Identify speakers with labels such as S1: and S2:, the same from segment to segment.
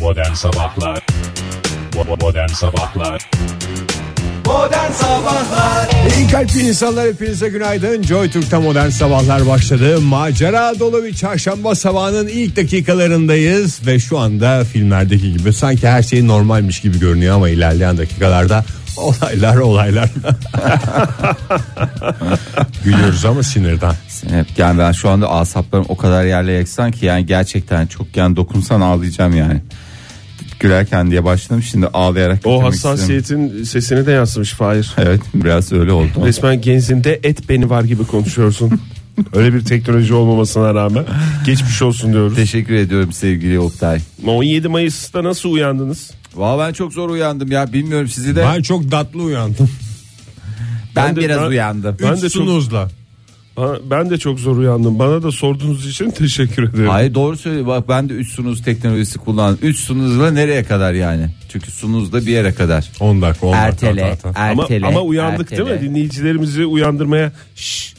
S1: Modern Sabahlar Bo- Modern Sabahlar
S2: Modern Sabahlar
S3: İyi kalpli insanlar hepinize günaydın. Joy Türk'te modern sabahlar başladı. Macera dolu bir çarşamba sabahının ilk dakikalarındayız. Ve şu anda filmlerdeki gibi sanki her şey normalmiş gibi görünüyor ama ilerleyen dakikalarda olaylar olaylar. Gülüyoruz ama sinirden.
S4: Evet, yani ben şu anda asaplarım o kadar yerle yeksan ki yani gerçekten çok yani dokunsan ağlayacağım yani. Gülerken diye başladım şimdi ağlayarak.
S5: O şey-
S4: bitirmek istiyorum.
S5: hassasiyetin sesini de yansımış Fahir.
S4: Evet biraz öyle oldu.
S5: Resmen genzinde et beni var gibi konuşuyorsun. Öyle bir teknoloji olmamasına rağmen geçmiş olsun diyoruz.
S4: Teşekkür ediyorum sevgili Oktay.
S5: 17 Mayıs'ta nasıl uyandınız?
S4: Valla ben çok zor uyandım ya bilmiyorum sizi de. Ben,
S3: Ben çok tatlı uyandım.
S5: Ben de-
S4: biraz
S5: ben-
S4: uyandım.
S5: Ben de
S3: Üç
S5: çok-
S3: sunuzla.
S5: Bana- Ben de çok zor uyandım. Bana da sorduğunuz için teşekkür ederim.
S4: Hayır doğru söylüyor. Bak ben de 3 sunuz teknolojisi kullandım. 3 sunuzla nereye kadar yani? Çünkü sunuz da bir yere kadar.
S3: 10 dakika 10 dakika.
S4: Ertele,
S3: zaten.
S5: ama,
S4: ertele.
S5: ama uyandık
S4: ertele.
S5: değil mi? Dinleyicilerimizi uyandırmaya Şş,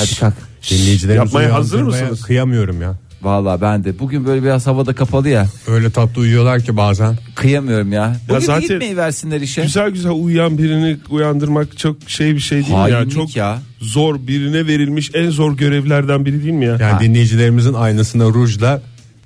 S4: Hadi kalk.
S3: Dinleyicilerimizi
S5: Yapmaya hazır
S3: uyandırmaya
S5: mısınız?
S3: Kıyamıyorum ya.
S4: Valla ben de bugün böyle biraz havada kapalı ya.
S3: Öyle tatlı uyuyorlar ki bazen.
S4: Kıyamıyorum ya. Bugün
S5: zaten-
S4: gitmeyi versinler işe.
S5: güzel güzel uyuyan birini uyandırmak çok şey bir şey değil mi ya?
S4: Hainlik
S5: Çok
S4: ya.
S5: zor birine verilmiş en zor görevlerden biri değil mi ya?
S3: Yani dinleyicilerimizin aynasına rujla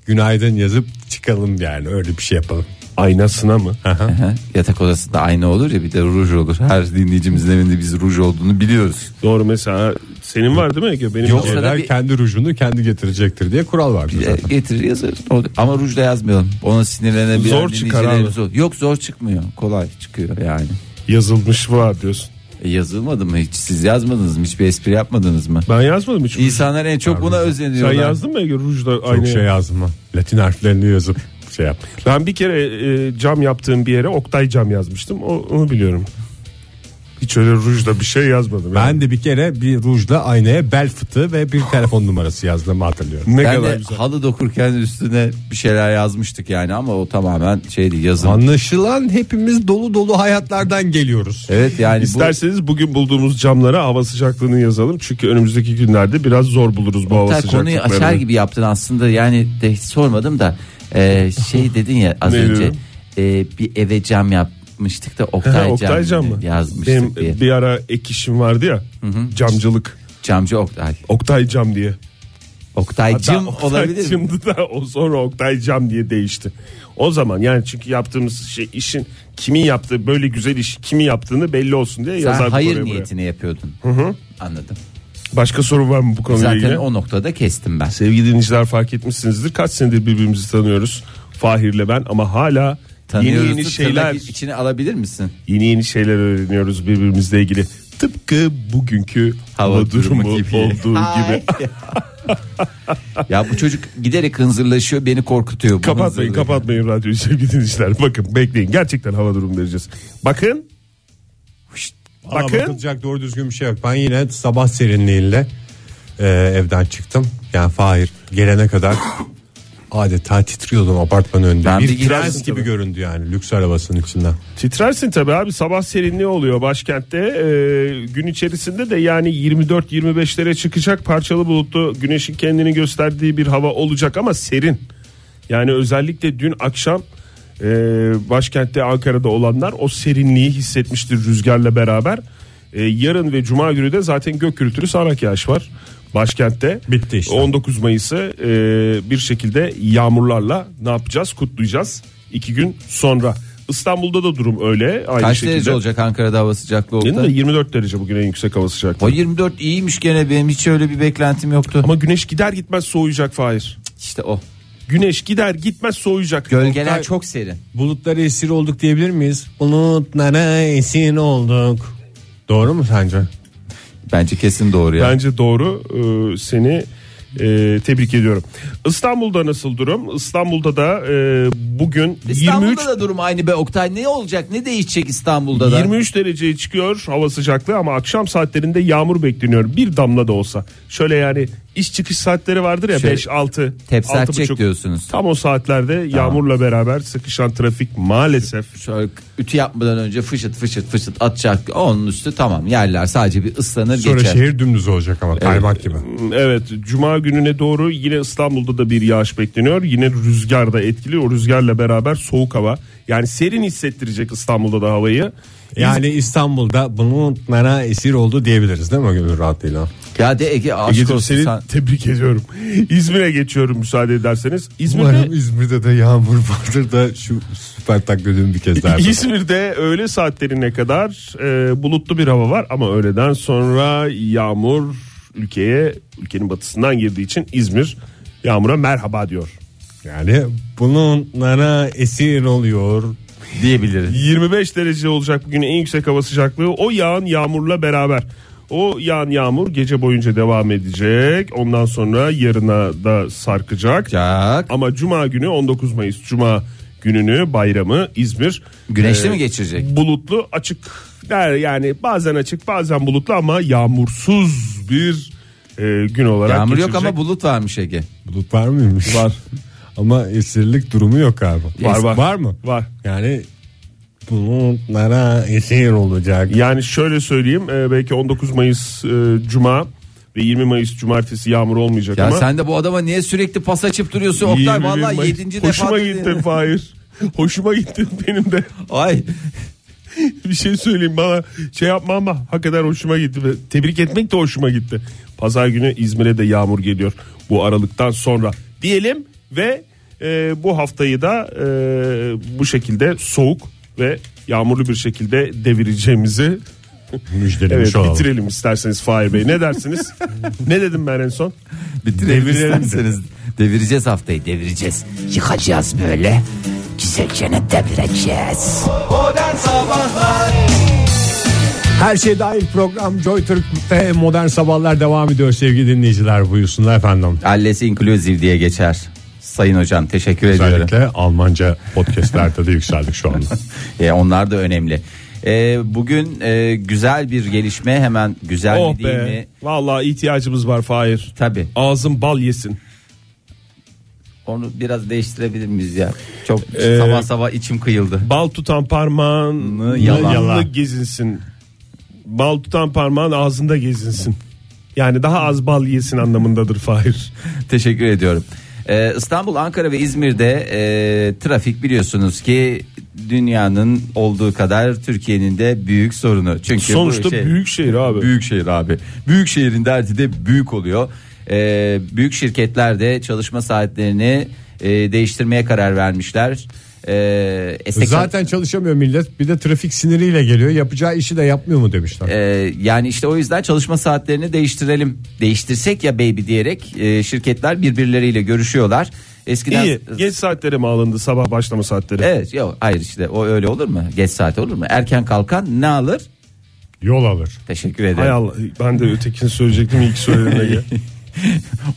S3: günaydın yazıp çıkalım yani öyle bir şey yapalım.
S5: Aynasına mı?
S4: Aha, Yatak odasında aynı olur ya bir de ruj olur. Her dinleyicimizin evinde biz ruj olduğunu biliyoruz.
S5: Doğru mesela senin var değil mi Ege? Benim
S3: Yoksa
S4: Yoksa da bir-
S3: kendi rujunu kendi getirecektir diye kural var
S4: E,
S3: zaten.
S4: Getirir yazarız. O- Ama ruj da yazmayalım. Ona sinirlenebilen
S5: Zor çıkar
S4: dinleyicilerimiz olur. Yok zor çıkmıyor. Kolay çıkıyor yani.
S5: yazılmış var diyorsun.
S4: E, yazılmadı mı hiç? Siz yazmadınız mı? Hiçbir espri yapmadınız mı?
S5: Ben yazmadım hiç.
S4: İnsanlar en çok buna
S5: Sen
S4: özeniyorlar.
S5: yazdın mı Ege Ruj'da
S3: Çok
S5: aynı?
S3: şey yazma. Latin harflerini yazıp şey yap.
S5: Ben bir kere e, cam yaptığım bir yere Oktay cam yazmıştım. O, onu biliyorum. Hiç öyle Ruj'da bir şey yazmadım. yani.
S3: Ben de bir kere bir rujla aynaya bel fıtığı ve bir telefon numarası yazdığımı hatırlıyorum.
S5: ne
S4: Ben
S5: kadar
S4: de
S5: güzel.
S4: halı dokurken üstüne bir şeyler yazmıştık yani ama o tamamen şey şeydi yazın.
S3: Anlaşılan hepimiz dolu dolu hayatlardan geliyoruz.
S4: Evet yani bu
S5: İsterseniz bugün bulduğumuz camlara hava sıcaklığını yazalım. Çünkü önümüzdeki günlerde biraz zor buluruz bu hava
S4: Hatta konuyu
S5: sıcaklıklarını.
S4: açar gibi yaptın aslında yani de hiç sormadım da e, şey dedin ya az
S5: Ne
S4: önce
S5: dedim?
S4: e, bir eve cam yapmıştık da Oktay,
S5: Oktay
S4: cam, e,
S5: cam mı?
S4: yazmıştık
S5: Benim e,
S4: diye.
S5: bir ara ek işim vardı ya. Camcılık.
S4: Camcı Oktay.
S5: Oktay cam diye. Hatta
S4: Oktaycım
S5: Oktay
S4: olabilir mi?
S5: Cım'dı da o sonra Oktay Cam diye değişti. O zaman yani çünkü yaptığımız şey işin kimin yaptığı böyle güzel işi kimin yaptığını belli olsun diye
S4: Sen
S5: yazardık
S4: hayır
S5: oraya buraya.
S4: niyetine yapıyordun. Anladım.
S5: Başka sorun var mı bu konuyla
S4: Zaten
S5: ilgili?
S4: o noktada kestim ben.
S5: Sevgili dinleyiciler fark etmişsinizdir. Kaç senedir birbirimizi tanıyoruz. Fahir'le ben ama hala
S4: Tanıyoruz.
S5: yeni yeni şeyler
S4: içine alabilir misin?
S5: yeni yeni şeyler öğreniyoruz birbirimizle ilgili. Tıpkı bugünkü hava,
S4: Hava
S5: durumu,
S4: durumu gibi.
S5: olduğu gibi.
S4: ya bu çocuk giderek hınzırlaşıyor beni korkutuyor. Bu
S5: Kapatmayın
S4: hınzırlığı.
S5: kapatmayın radyoyu sevgili dinleyiciler. Bakın bekleyin gerçekten hava durumu vereceğiz. Bakın
S3: Ama
S5: Bakın.
S3: bakılacak doğru düzgün bir şey yok. Ben yine sabah serinliğiyle e, evden çıktım. Yani Fahir gelene kadar adeta titriyordum apartmanın önünde.
S4: Ben bir
S3: bir
S4: girersin
S3: prens gibi
S5: tabii.
S3: göründü yani lüks arabasının içinden.
S5: Titrersin tabii abi sabah serinliği oluyor başkentte Ee, gün içerisinde de yani 24-25'lere çıkacak parçalı bulutlu güneşin kendini gösterdiği bir hava olacak ama serin. Yani özellikle dün akşam e, başkentte Ankara'da olanlar o serinliği hissetmiştir rüzgarla beraber. E, yarın ve cuma günü de zaten gök gürültülü sağanak yağış var başkentte.
S3: Bitti işte.
S5: 19 Mayıs'ı e, bir şekilde yağmurlarla ne yapacağız kutlayacağız iki gün sonra. İstanbul'da da durum öyle aynı
S4: Kaç
S5: şekilde.
S4: derece olacak Ankara'da hava sıcaklığı
S5: Yine
S4: Oktay?
S5: de 24 derece bugün en yüksek hava
S4: O
S5: sıcaklığı.
S4: 24 iyiymiş gene benim hiç öyle bir beklentim yoktu.
S5: Ama güneş gider gitmez soğuyacak Fahir.
S4: İşte o.
S5: Güneş gider gitmez soğuyacak.
S4: Gölgeler
S3: Oktay-
S4: çok serin.
S3: Bulutlara esir olduk diyebilir miyiz? Bulutlara esir olduk. Doğru mu sence?
S4: Bence kesin doğru ya.
S5: Bence doğru Ee, seni e, tebrik ediyorum. İstanbul'da nasıl durum? İstanbul'da da e, bugün
S4: İstanbul'da
S5: 23
S4: da durum aynı be Oktay. Ne olacak? Ne değişecek İstanbul'da da?
S5: 23 dereceye çıkıyor hava sıcaklığı ama akşam saatlerinde yağmur bekleniyor. Bir damla da olsa. Şöyle yani iş çıkış saatleri vardır ya
S4: Şey,
S5: 5 6
S4: tepser
S5: 6.30.
S4: çek diyorsunuz.
S5: Tam o saatlerde yağmurla beraber sıkışan trafik maalesef.
S4: Şöyle ütü yapmadan önce fışıt fışıt fışıt atacak. Onun üstü tamam yerler sadece bir ıslanır
S3: Sonra
S4: geçer.
S3: şehir dümdüz olacak ama kaymak gibi.
S5: Evet cuma gününe doğru yine İstanbul'da da bir yağış bekleniyor. Yine rüzgar da etkili. O rüzgarla beraber soğuk hava. Yani serin hissettirecek İstanbul'da da havayı.
S3: Yani İstanbul'da bulutlara esir oldu diyebiliriz değil mi gönül rahatlığıyla?
S4: Ya de Ege aşk
S5: Ege'cim
S4: olsun
S5: seni
S4: sen.
S5: tebrik ediyorum. İzmir'e geçiyorum müsaade ederseniz. İzmir'de
S3: Umarım İzmir'de de yağmur vardır da şu süper taklidimi bir kez daha. yapalım.
S5: İzmir'de öğle saatlerine kadar e, bulutlu bir hava var ama öğleden sonra yağmur ülkeye ülkenin batısından girdiği için İzmir yağmura merhaba diyor.
S3: yani bulutlara esir oluyor.
S4: diyebiliriz.
S5: 25 derece olacak bugün en yüksek hava sıcaklığı o yağan yağmurla beraber. O yağan yağmur gece boyunca devam edecek. Ondan sonra yarına da sarkacak.
S4: Cak.
S5: Ama cuma günü 19 Mayıs cuma gününü bayramı İzmir
S4: Güneşli
S5: e,
S4: mi geçirecek?
S5: Bulutlu açık der yani bazen açık bazen bulutlu ama yağmursuz bir e, gün olarak
S4: Yağmur yok
S5: geçirecek.
S4: ama bulut varmış Ege.
S3: Bulut var mıymış? Var. Ama esirlik durumu yok galiba.
S5: Var, var.
S3: Var mı?
S5: Var.
S3: Yani bulutlara esir olacak.
S5: Yani şöyle söyleyeyim e, belki 19 Mayıs e, Cuma ve 20 Mayıs Cumartesi yağmur olmayacak
S4: Ya
S5: ama.
S4: sen de bu adama niye sürekli pas açıp duruyorsun?
S5: 21
S4: Oktay vallahi
S5: Mayıs-
S4: 7. defa.
S5: Hoşuma
S4: dedi.
S5: gitti Fahir. Hoşuma gitti benim de
S4: Ay
S5: bir şey söyleyeyim bana şey yapma ama hakikaten hoşuma gitti. ve Tebrik etmek de hoşuma gitti. Pazar günü İzmir'e de yağmur geliyor bu aralıktan sonra diyelim ve e, bu haftayı da e, bu şekilde soğuk ve yağmurlu bir şekilde devireceğimizi
S3: Müjdelemiş
S5: evet,
S3: olalım.
S5: bitirelim isterseniz Fahir Bey ne dersiniz? ne dedim ben en son?
S4: bitirelim
S5: Devirelim de.
S4: isterseniz. Devireceğiz haftayı devireceğiz. Yıkacağız böyle. Güzelce ne devireceğiz.
S2: Modern Sabahlar
S3: Her şey dahil program Joy Türk'te modern sabahlar devam ediyor sevgili dinleyiciler buyursunlar efendim.
S4: Alles inclusive diye geçer. Sayın hocam teşekkür ediyorum.
S3: Özellikle Almanca podcastlerde de yükseldik şu anda.
S4: E, onlar da önemli. E, bugün e, güzel bir gelişme hemen güzel
S5: oh
S4: mi değil
S5: be.
S4: mi?
S5: Vallahi ihtiyacımız var Fahir.
S4: Tabi
S5: Ağzın bal yesin.
S4: onu biraz değiştirebilir miyiz ya? Çok
S5: Ee,
S4: sabah sabah içim kıyıldı.
S5: Bal tutan parmağını
S4: Yala.
S5: yalanlı gezinsin. Bal tutan parmağın ağzında gezinsin. Yani daha az bal yesin anlamındadır Fahir.
S4: Teşekkür ediyorum. Ee, İstanbul, Ankara ve İzmir'de e, trafik biliyorsunuz ki dünyanın olduğu kadar Türkiye'nin de büyük sorunu. Çünkü bu
S5: Sonuçta
S4: şey-
S5: büyük şehir abi.
S4: Büyük şehir abi. Büyük şehrin derdi de büyük oluyor. Ee, büyük şirketler de çalışma saatlerini e, değiştirmeye karar vermişler. Ee, esnek-
S3: Zaten çalışamıyor millet bir de trafik siniriyle geliyor yapacağı işi de yapmıyor mu demişler.
S5: E,
S4: Ee, yani işte o yüzden çalışma saatlerini değiştirelim. Değiştirsek ya baby diyerek e, şirketler birbirleriyle görüşüyorlar. Eskiden
S5: İyi. Geç saatlere mi alındı sabah başlama saatleri?
S4: Evet yok hayır işte o öyle olur mu? Geç saat olur mu? Erken kalkan ne alır?
S3: Yol alır.
S4: Teşekkür
S5: Hay
S4: ederim.
S5: Allah. Ben de ötekini söyleyecektim ilk söylediğine gel.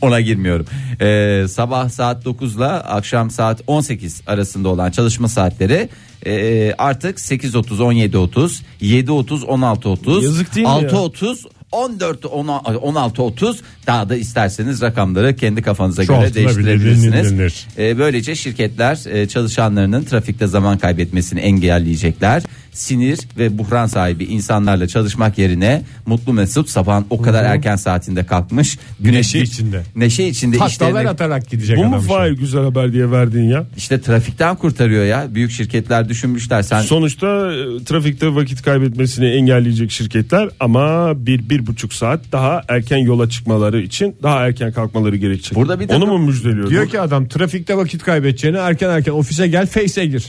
S4: Ona girmiyorum. Ee, sabah saat 9 ile akşam saat 18 arasında olan çalışma saatleri e, artık 8.30 17.30 7.30 16.30
S5: Yazık değil mi ya?
S4: 6.30 14 16.30 daha da isterseniz rakamları kendi kafanıza
S3: Şu
S4: göre
S3: altına bile
S4: değiştirebilirsiniz.
S3: dinlenir.
S4: Ee, böylece şirketler e, çalışanlarının trafikte zaman kaybetmesini engelleyecekler. Sinir ve buhran sahibi insanlarla çalışmak yerine mutlu mesut sabahın o kadar erken saatinde kalkmış. Güneş
S3: Neşe içinde.
S4: Neşe içinde
S3: Pastalar
S4: işlerine-
S3: atarak gidecek
S5: Bu
S3: adam.
S5: mu
S3: şimdi.
S5: Fahir güzel haber diye verdin ya?
S4: işte trafikten kurtarıyor ya. Büyük şirketler düşünmüşler sen
S5: Sonuçta e, trafikte vakit kaybetmesini engelleyecek şirketler ama bir, bir buçuk saat daha erken yola çıkmaları için daha erken kalkmaları gerekecek.
S4: Burada bir
S5: Onu
S4: takım-
S5: mu müjdeliyoruz?
S3: Diyor ki adam trafikte vakit kaybedeceğine erken erken ofise gel face'e gir.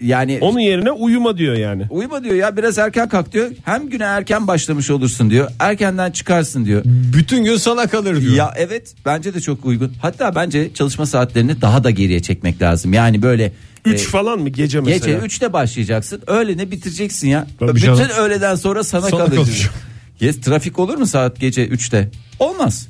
S4: yani
S5: Onun yerine uyuma diyor yani.
S4: uyuma diyor ya biraz erken kalk diyor. Hem güne erken başlamış olursun diyor. Erkenden çıkarsın diyor.
S3: Bütün gün sana kalır diyor.
S4: Ya evet bence de çok uygun. Hatta bence çalışma saatlerini daha da geriye çekmek lazım. Yani böyle
S5: 3
S4: e,
S5: falan mı gece mesela?
S4: Gece 3'te başlayacaksın. Öğlene bitireceksin ya.
S3: Tabii
S4: Bütün
S3: canım.
S4: öğleden sonra sana,
S3: Sana
S4: kalacak.
S3: kalacak.
S4: Yes, trafik olur mu saat gece 3'te? Olmaz.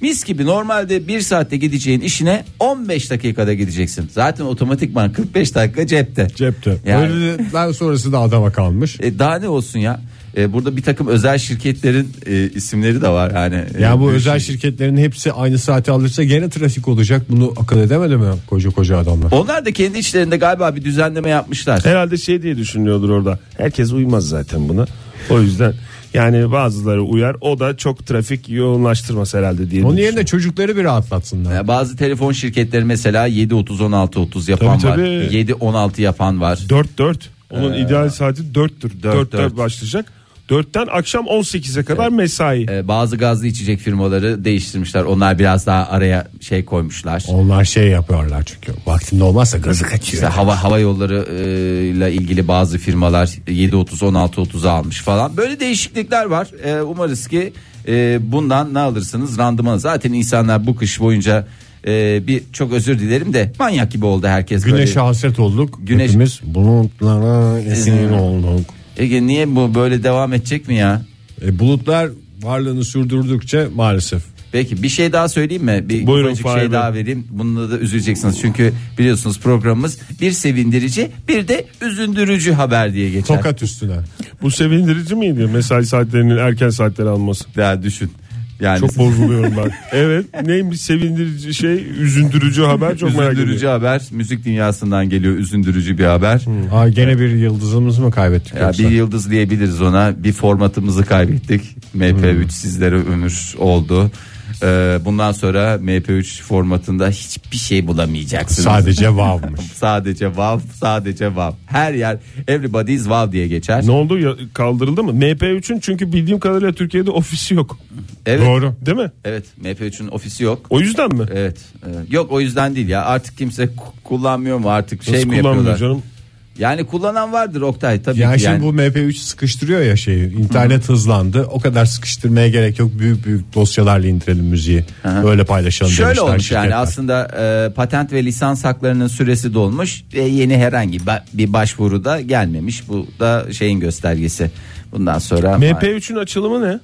S4: Mis gibi normalde 1 saatte gideceğin işine 15 dakikada gideceksin. Zaten otomatikman 45 dakika cepte.
S3: Cepte.
S4: Yani.
S3: Öğleden sonrası da adama kalmış.
S4: E, daha ne olsun ya? E, burada bir takım özel şirketlerin e, isimleri de var yani. E,
S3: Ya bu
S4: bir
S3: özel
S4: şey-
S3: şirketlerin hepsi aynı saati alırsa gene trafik olacak. Bunu akıl edemedi mi koca koca adamlar?
S4: Onlar da kendi içlerinde galiba bir düzenleme yapmışlar.
S5: Herhalde şey diye düşünüyordur orada. Herkes uymaz zaten buna. O yüzden yani bazıları uyar. O da çok trafik yoğunlaştırmaz herhalde diye.
S3: Onun
S5: düşünüyorum.
S3: yerine çocukları bir rahatlatsınlar.
S4: Ya Bazı telefon şirketleri mesela 7 30 16 30 yapan
S5: Tabii,
S4: var.
S5: tabii.
S4: 7 16 yapan var.
S5: 4 4. Onun ideal saati 4'tür.
S4: Ee. dört,
S5: 4'te
S4: dört.
S5: başlayacak. 4'ten akşam 18'e kadar mesai.
S4: E, bazı gazlı içecek firmaları değiştirmişler. Onlar biraz daha araya şey koymuşlar.
S3: Onlar şey yapıyorlar çünkü vaktinde olmazsa gazı
S4: İşte
S3: kaçıyor.
S4: hava hava yolları e, ile ilgili bazı firmalar 7.30 16.30'a almış falan. Böyle değişiklikler var. E, umarız ki e, bundan ne alırsınız randıman. Zaten insanlar bu kış boyunca e, bir çok özür dilerim de manyak gibi oldu herkes
S3: Güneşe
S4: böyle.
S3: hasret olduk.
S4: Güneş-
S3: Hepimiz bulutlara esir olduk.
S4: Ege niye bu böyle devam edecek mi ya?
S3: E, bulutlar varlığını sürdürdükçe maalesef.
S4: Peki bir şey daha söyleyeyim mi? Bir
S5: Buyurun,
S4: ufacık
S5: Fahir
S4: şey
S5: Bey.
S4: daha vereyim. Bununla da üzüleceksiniz. Çünkü biliyorsunuz programımız bir sevindirici bir de üzündürücü haber diye geçer.
S3: Tokat üstüne.
S5: Bu sevindirici miydi? Mesai saatlerinin erken saatleri alması.
S4: Ya düşün. Yani
S5: Çok bozuluyorum ben. Evet. Neymiş sevindirici şey, üzündürücü haber çok merak ediyorum.
S4: üzündürücü haber müzik dünyasından geliyor üzündürücü bir haber.
S3: Aa, gene bir yıldızımızı mı kaybettik
S4: Ya
S3: yoksa?
S4: bir yıldız diyebiliriz ona. Bir formatımızı kaybettik. MP3 sizlere ömür oldu. Ee, bundan sonra MP3 formatında hiçbir şey bulamayacaksınız.
S3: Sadece wow'muş.
S4: sadece wow, sadece wow. Her yer everybody's wow diye geçer.
S5: Ne oldu? Ya- Kaldırıldı mı? MP3'ün çünkü bildiğim kadarıyla Türkiye'de ofisi yok.
S4: Evet.
S5: Doğru. Değil mi?
S4: Evet, MP3'ün ofisi yok.
S5: O yüzden mi?
S4: Evet. e, Yok o yüzden değil ya. Artık kimse ku- kullanmıyor mu artık şey
S5: Nasıl
S4: mi
S5: kullanmıyor
S4: yapıyorlar?
S5: canım?
S4: Yani kullanan vardır Oktay tabii
S3: Yani
S4: ki.
S3: şimdi
S4: Yani.
S3: bu MP3 sıkıştırıyor ya şeyi. İnternet hızlandı. O kadar sıkıştırmaya gerek yok. Büyük büyük dosyalarla indirelim müziği. Öyle paylaşalım
S4: Şöyle
S3: demişler
S4: olmuş yani
S3: şirketler.
S4: aslında e, patent ve lisans haklarının süresi dolmuş ve yeni herhangi ba- bir başvuru da gelmemiş. Bu da şeyin göstergesi. Bundan sonra
S5: MP3'ün açılımı ne?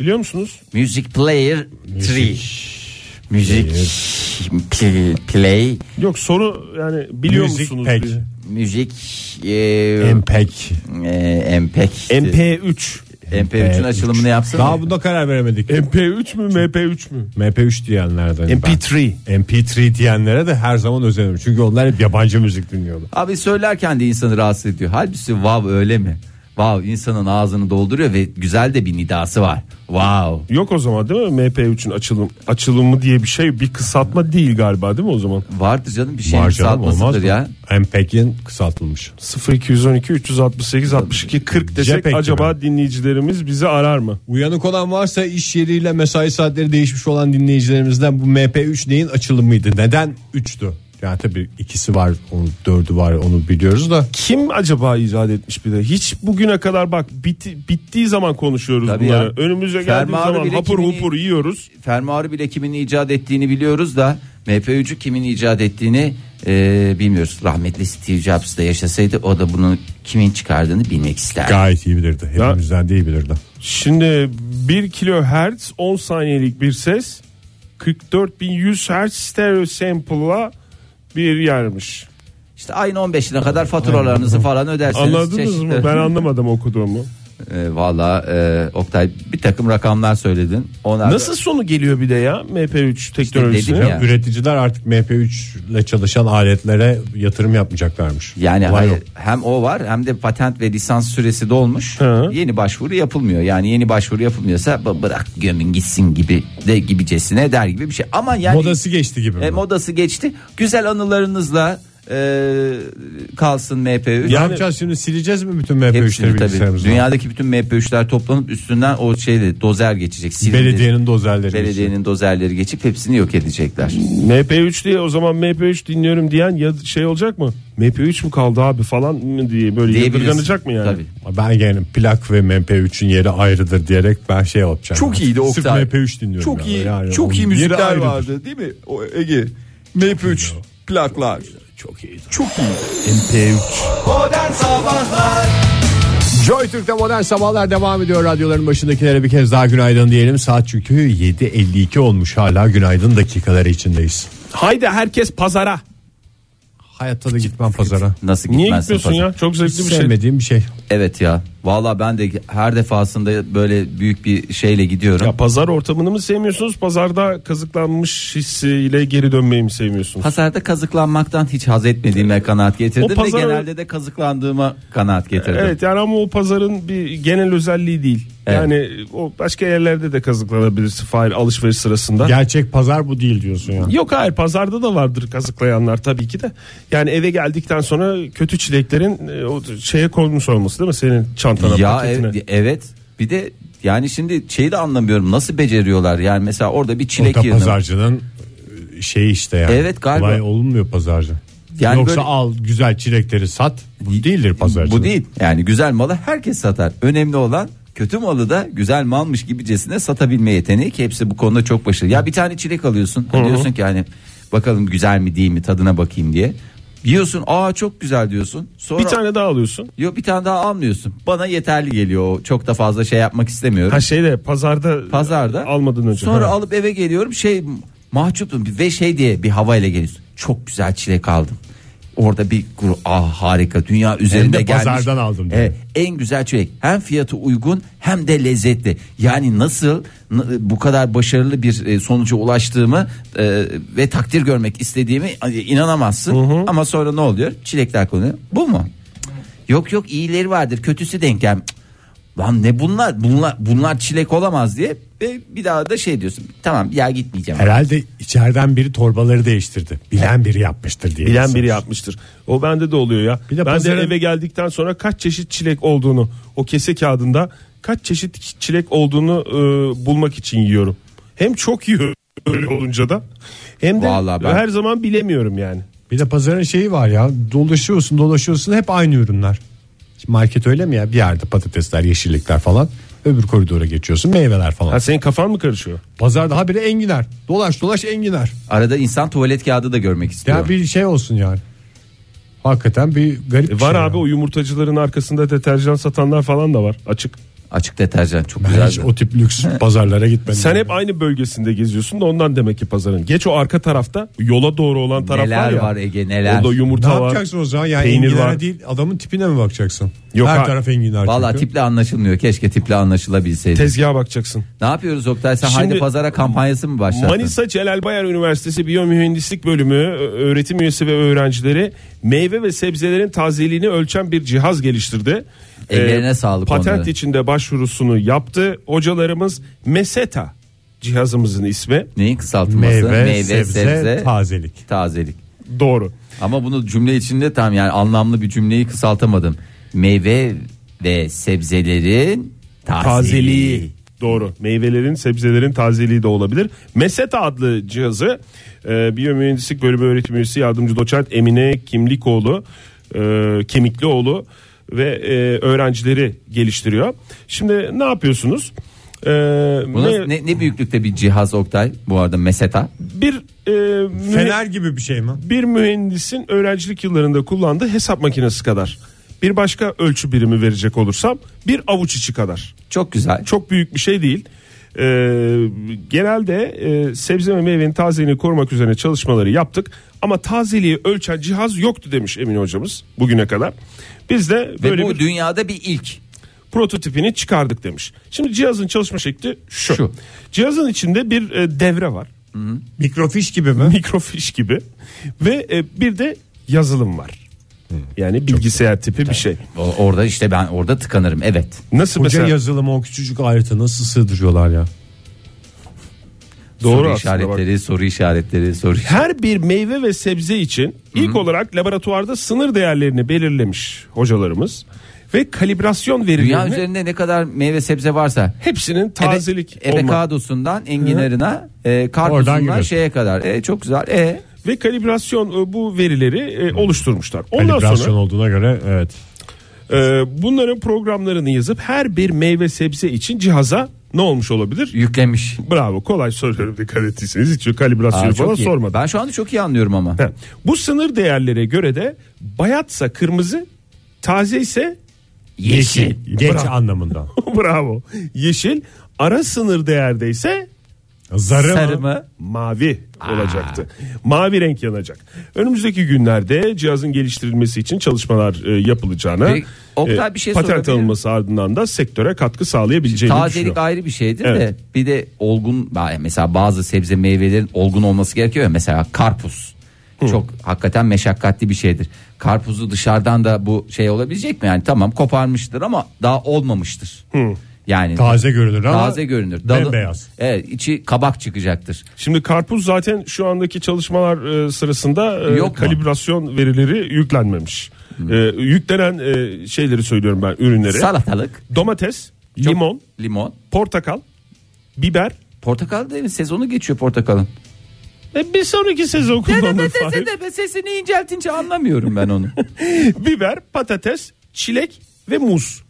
S5: Biliyor musunuz?
S4: Music Player 3. Müzik pl- play
S5: Yok soru yani biliyor
S3: Music
S5: musunuz?
S3: pack.
S5: diye.
S4: müzik e,
S3: MPEG.
S4: e, MPEG.
S5: MP3.
S4: MP3'ün açılımını yapsın.
S3: Daha bunda karar veremedik.
S5: MP3 mü MP3 mü?
S3: MP3 diyenlerden.
S5: MP3.
S3: Ben. MP3 diyenlere de her zaman özenirim. Çünkü onlar hep yabancı müzik dinliyorlar.
S4: Abi söylerken de insanı rahatsız ediyor. Halbuki wow öyle mi? Wow insanın ağzını dolduruyor ve güzel de bir nidası var. Wow.
S5: Yok o zaman değil mi? MP3'ün açılım açılımı diye bir şey bir kısaltma değil galiba değil mi o zaman?
S4: Vardır canım bir şeyin
S3: Var canım olmaz
S4: kısaltmasıdır
S3: mı?
S4: ya.
S3: MPEG'in kısaltılmış.
S5: 0212 368 62 40 desek
S3: Cepek gibi.
S5: acaba dinleyicilerimiz bizi arar mı?
S3: Uyanık olan varsa iş yeriyle mesai saatleri değişmiş olan dinleyicilerimizden bu MP3 neyin açılımıydı? Neden 3'tü? Yani tabii ikisi var, onun dördü var onu biliyoruz da.
S5: Kim acaba icat etmiş bir de? Hiç bugüne kadar bak biti- bittiği zaman konuşuyoruz
S4: Tabii
S5: bunları.
S4: ya.
S5: Önümüze geldiği
S4: Fermuarı
S5: zaman
S4: bile
S5: hapur
S4: kimini-
S5: hupur yiyoruz.
S4: Fermuarı bile kimin icat ettiğini biliyoruz da MP3'ü kimin icat ettiğini e, bilmiyoruz. Rahmetli Steve Jobs da yaşasaydı o da bunu kimin çıkardığını bilmek isterdi.
S3: Gayet iyi bilirdi. Hepimizden de iyi bilirdi.
S5: Şimdi 1 kilohertz 10 saniyelik bir ses 44100 hertz stereo sample'la bir yermiş.
S4: İşte ayın 15'ine kadar faturalarınızı falan öderseniz.
S5: Anladınız mı?
S4: çeşitli-
S5: Ben anlamadım okuduğumu.
S4: E, Valla e, Oktay bir takım rakamlar söyledin. Onlar
S5: Nasıl sonu geliyor bir de ya MP3 teknolojisine?
S4: dedik ya.
S3: Üreticiler artık MP3 ile çalışan aletlere yatırım yapmayacaklarmış.
S4: Yani
S3: Vay
S4: hayır,
S3: yok.
S4: hem o var hem de patent ve lisans süresi dolmuş.
S5: Hı.
S4: Yeni başvuru yapılmıyor. Yani yeni başvuru yapılmıyorsa "Bı- bırak gömün gitsin gibi de gibicesine der gibi bir şey. Ama yani
S3: Modası geçti gibi. mi?
S4: e, modası geçti. Güzel anılarınızla e, kalsın MP3.
S3: ne yapacağız şimdi sileceğiz mi bütün MP3'leri
S4: Hepsini tabii.
S3: bilgisayarımızdan?
S4: Dünyadaki bütün MP3'ler toplanıp üstünden o şeyle dozer geçecek. silindir-
S3: Belediyenin dozerleri.
S4: belediyenin dozerleri geçip hepsini yok edecekler.
S5: MP3 diye o zaman MP3 dinliyorum diyen ya şey olacak mı? MP3 mü kaldı abi falan mı diye böyle
S4: Diyebiliriz.
S5: yadırganacak mı yani?
S4: Tabii.
S3: Ben yani plak ve MP3'ün yeri ayrıdır diyerek ben şey yapacağım.
S4: Çok iyiydi
S3: Sırf
S4: Oktay.
S3: MP3 dinliyorum.
S4: Çok
S3: ya.
S4: iyi,
S3: Yani onun
S4: çok iyi
S3: yeri
S4: müzikler
S3: ayrıdır.
S4: vardı değil mi? O Ege. MP3 plaklar.
S3: Çok iyi.
S4: Çok iyi.
S2: Modern Sabahlar
S3: Joy Türk'te modern sabahlar devam ediyor. Radyoların başındakilere bir kez daha günaydın diyelim. Saat çünkü 7.52 olmuş hala günaydın dakikaları içindeyiz.
S5: Haydi herkes pazara.
S3: Hayatta da gitmem pazara.
S4: Nasıl
S5: Niye
S4: gitmezsin
S5: gitmiyorsun
S4: pazara?
S5: ya? Çok
S3: Hiç
S5: zevkli bir şey.
S3: sevmediğim bir şey.
S4: Evet ya. Valla ben de her defasında böyle büyük bir şeyle gidiyorum.
S5: Ya pazar ortamını mı sevmiyorsunuz? Pazarda kazıklanmış hissiyle geri dönmeyi mi sevmiyorsunuz?
S4: Pazarda kazıklanmaktan hiç haz etmediğime kanaat getirdim
S5: E, O pazar-
S4: ve genelde de kazıklandığıma kanaat getirdim.
S5: Evet yani ama o pazarın bir genel özelliği değil.
S4: Evet.
S5: Yani o başka yerlerde de kazıklanabilirsin Fahir alışveriş sırasında.
S3: Gerçek pazar bu değil diyorsun ya.
S5: Yok hayır pazarda da vardır kazıklayanlar tabii ki de. Yani eve geldikten sonra kötü çileklerin e, o şeye konmuş olması değil mi senin çantana
S4: Ya e,
S5: paketine?
S4: ev- evet. Bir de yani şimdi şeyi de anlamıyorum nasıl beceriyorlar yani mesela orada bir çilek
S3: Orta
S4: yerine
S3: pazarcının şey işte yani.
S4: Evet, galiba.
S3: Kolay olunmuyor pazarcı.
S4: Yani
S3: Yoksa
S4: böyle-
S3: al güzel çilekleri sat. Bu değildir pazarcı.
S4: bu değil yani güzel malı herkes satar önemli olan kötü malı da güzel malmış gibicesine satabilme yeteneği ki hepsi bu konuda çok başarılı ya bir tane çilek alıyorsun diyorsun ki hani bakalım güzel mi değil mi tadına bakayım diye yiyorsun aa çok güzel diyorsun sonra
S5: Bir tane daha alıyorsun.
S4: Yok bir tane daha almıyorsun. Bana yeterli geliyor. o. Çok da fazla şey yapmak istemiyorum.
S5: Ha şeyde pazarda
S4: Pazarda.
S5: almadın önce.
S4: Sonra
S5: Ha.
S4: alıp eve geliyorum. Şey mahcuptum ve şey diye bir havayla geliyorsun. Çok güzel çilek aldım. Orada bir gru ah harika dünya üzerinde
S3: de
S4: gelmiş.
S3: pazardan aldım diyor.
S4: Evet, en güzel çilek. Hem fiyatı uygun hem de lezzetli. Yani nasıl n- bu kadar başarılı bir e, sonuca ulaştığımı e, ve takdir görmek istediğimi e, inanamazsın. Ama sonra ne oluyor? Çilekler konuyor. Bu mu? Cık. Yok yok iyileri vardır. Kötüsü denk gel. Cık. Lan ne bunlar? Bunlar bunlar çilek olamaz diye ve bir daha da şey diyorsun. Tamam ya gitmeyeceğim.
S3: Herhalde içeriden biri torbaları değiştirdi. Bilen biri yapmıştır diye.
S5: Bilen biri
S3: düşünüyorum.
S5: yapmıştır. O bende de oluyor ya.
S3: şey? Bir de
S5: ben
S3: pazarın-
S5: de eve geldikten sonra kaç çeşit çilek olduğunu o kese kağıdında kaç çeşit çilek olduğunu e, bulmak için yiyorum. Hem çok yiyorum öyle olunca da hem de
S4: Vallahi ben-
S5: her zaman bilemiyorum yani.
S3: Bir de pazarın şeyi var ya dolaşıyorsun dolaşıyorsun hep aynı ürünler. Şimdi market öyle mi ya bir yerde patatesler yeşillikler falan öbür koridora geçiyorsun meyveler falan.
S5: Ha senin kafan mı karışıyor?
S3: Pazarda habire enginar dolaş dolaş enginar.
S4: Arada insan tuvalet kağıdı da görmek
S3: Ya
S4: istiyor.
S3: bir şey olsun yani. Hakikaten bir garip
S5: E,
S3: bir
S5: var
S3: şey
S5: abi
S3: ya.
S5: o yumurtacıların arkasında deterjan satanlar falan da var açık.
S4: Açık deterjan çok
S3: Ben hiç
S4: güzel.
S3: o tip lüks pazarlara gitmedim.
S5: Sen hep aynı bölgesinde geziyorsun da ondan demek ki pazarın. Geç o arka tarafta yola doğru olan taraf
S4: Neler
S5: var ya.
S4: var Ege, neler?
S5: Orada
S3: ne
S5: yumurta var.
S3: yapacaksın o zaman yani
S5: peynir
S3: enginara
S5: var.
S3: değil adamın tipine mi bakacaksın?
S5: Yok
S3: Her
S5: ha-
S3: taraf enginar
S4: Valla
S3: çünkü.
S4: tiple anlaşılmıyor. Keşke tiple anlaşılabilseydi.
S5: Tezgaha bakacaksın.
S4: Ne yapıyoruz Oktay? Sen
S5: Şimdi-
S4: Haydi Pazar'a kampanyası mı başlattın?
S5: Manisa Celal Bayar Üniversitesi Biyomühendislik Bölümü ö- öğretim üyesi ve öğrencileri meyve ve sebzelerin tazeliğini ölçen bir cihaz geliştirdi. Ee,
S4: Ellerine sağlık
S5: Patent
S4: onların.
S5: içinde başvurusunu yaptı. Hocalarımız Meseta cihazımızın ismi.
S4: Neyin kısaltılması?
S3: Meyve, sebze, tazelik.
S4: tazelik.
S5: Doğru.
S4: Ama bunu cümle içinde tam yani anlamlı bir cümleyi kısaltamadım. Meyve ve sebzelerin tazeliği.
S5: Tazeliği. Doğru. Meyvelerin, sebzelerin tazeliği de olabilir. Meseta adlı cihazı e, biyomühendislik bölümü öğretim üyesi yardımcı doçent Emine Kimlikoğlu, e, Kemiklioğlu ve e, öğrencileri geliştiriyor. Şimdi ne yapıyorsunuz? E,
S4: Buna
S5: me-
S4: ne, ne büyüklükte bir cihaz Oktay bu arada meseta.
S5: Bir e, mühe-
S3: Fener gibi bir şey mi?
S5: bir mühendisin öğrencilik yıllarında kullandığı hesap makinesi kadar. Bir başka ölçü birimi verecek olursam bir avuç içi kadar.
S4: Çok güzel.
S5: çok büyük bir şey değil. Ee, genelde e, sebze ve meyvenin tazeliğini korumak üzerine çalışmaları yaptık. Ama tazeliği ölçen cihaz yoktu demiş Emin hocamız bugüne kadar. Biz de
S4: ve
S5: böyle
S4: bu
S5: bir
S4: dünyada bir ilk.
S5: prototipini çıkardık demiş. Şimdi cihazın çalışma şekli şu.
S4: Şu.
S5: Cihazın içinde bir e, devre var.
S3: Mikrofiş gibi mi?
S5: Mikrofiş gibi. Ve e, bir de yazılım var.
S4: Hmm.
S5: Yani bilgisayar tipi bir şey.
S4: O- Orada işte ben orada tıkanırım evet.
S5: Nasıl
S3: Koca
S5: mesela?
S3: yazılımı o küçücük alete nasıl sığdırıyorlar ya?
S5: Doğru
S4: soru
S5: aslında
S4: işaretleri, soru işaretleri, soru işaretleri.
S5: Her bir meyve ve sebze için ilk olarak laboratuvarda sınır değerlerini belirlemiş hocalarımız ve kalibrasyon
S4: Dünya
S5: verilerini
S4: üzerinde ne kadar meyve sebze varsa
S5: hepsinin tazelik
S4: Ebe,
S5: olma-
S4: ebekadosundan enginarına, e,
S3: Oradan
S4: karpuzusundan
S3: giriyorsun.
S4: şeye kadar. E, çok güzel. E,
S5: ve kalibrasyon e, bu verileri e, oluşturmuşlar. Ondan
S3: Kalibrasyon
S5: sonra
S3: olduğuna göre evet.
S5: e, bunların programlarını yazıp her bir meyve sebze için cihaza ne olmuş olabilir?
S4: yüklemiş.
S5: Bravo kolay soruyorum dikkat ettiyseniz hiç kalibrasyonu
S4: Aa,
S5: falan
S4: çok iyi.
S5: sormadım.
S4: Ben şu anda çok iyi anlıyorum ama.
S5: He. Bu sınır değerlere göre de bayatsa kırmızı, taze ise
S4: Yeşil.
S3: Geç anlamında.
S5: Bravo. Yeşil ara sınır değerde ise Zarı
S4: Sarı
S5: mı?
S4: mı?
S5: Mavi olacaktı. Mavi renk yanacak. Önümüzdeki günlerde cihazın geliştirilmesi için çalışmalar e, yapılacağına
S4: Peki, Oktay, bir şey
S5: patent
S4: sorabilir miyim?
S5: alınması ardından da sektöre katkı
S3: Şey,
S5: sağlayabileceğini
S4: Tazelik
S5: düşünüyorum.
S4: ayrı bir şeydir de
S5: Evet.
S4: bir de olgun mesela bazı sebze meyvelerin olgun olması gerekiyor ya mesela karpuz. Çok hakikaten meşakkatli bir şeydir. Karpuzu dışarıdan da bu şey olabilecek mi? Yani tamam koparmıştır ama daha olmamıştır. Yani
S3: Taze görünür ama
S4: taze görünür. Dalı-
S3: bembeyaz.
S4: Evet, içi kabak çıkacaktır.
S5: Şimdi karpuz zaten şu andaki çalışmalar e, sırasında e,
S4: Yok mu?
S5: kalibrasyon verileri yüklenmemiş. E, yüklenen e, şeyleri söylüyorum ben ürünleri.
S4: Salatalık,
S5: Domates,
S4: çok-
S5: limon,
S4: limon,
S5: portakal, biber
S4: portakal değil mi? Sezonu geçiyor portakalın.
S5: ve bir sonraki sezon kullanılır. Fahir.
S4: Sesini inceltince anlamıyorum ben onu.
S5: biber, patates, çilek ve muz.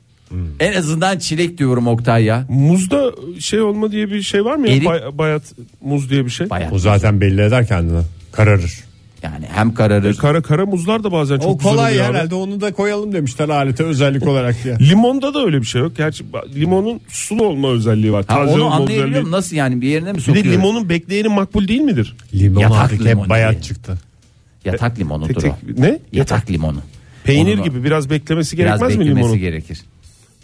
S4: en azından çilek diyorum Oktay ya.
S5: Muzda şey olma diye bir şey var mı ya?
S4: Erik.
S5: Bay- bayat muz diye bir şey.
S4: Bayağı
S3: O zaten belli eder kendini. Kararır.
S4: yani hem kararır.
S5: E, Kara kara muzlar da bazen çok
S3: o
S5: güzel
S3: kolay
S5: oluyor abi.
S3: herhalde onu da koyalım demişler alete özellik olarak diye.
S5: Limonda da öyle bir şey yok. Gerçi ba- limonun sulu olma özelliği var.
S4: Ha,
S5: Taze
S4: onu
S5: olma
S4: anlayabiliyor
S5: özelliği.
S4: musun? Nasıl yani bir yerine mi
S5: Bir de
S4: sokuyor?
S5: limonun bekleyeni makbul değil midir?
S3: Limon
S4: Yatak
S3: artık
S4: limonu
S3: hep
S4: diye.
S3: bayat çıktı.
S4: Yatak limonudur
S5: Tek
S4: o.
S5: tek- ne?
S4: Yatak limonu.
S5: Peynir
S4: Onu da
S5: gibi biraz beklemesi
S4: biraz
S5: gerekmez mi
S4: beklemesi
S5: limonun?
S4: gerekir.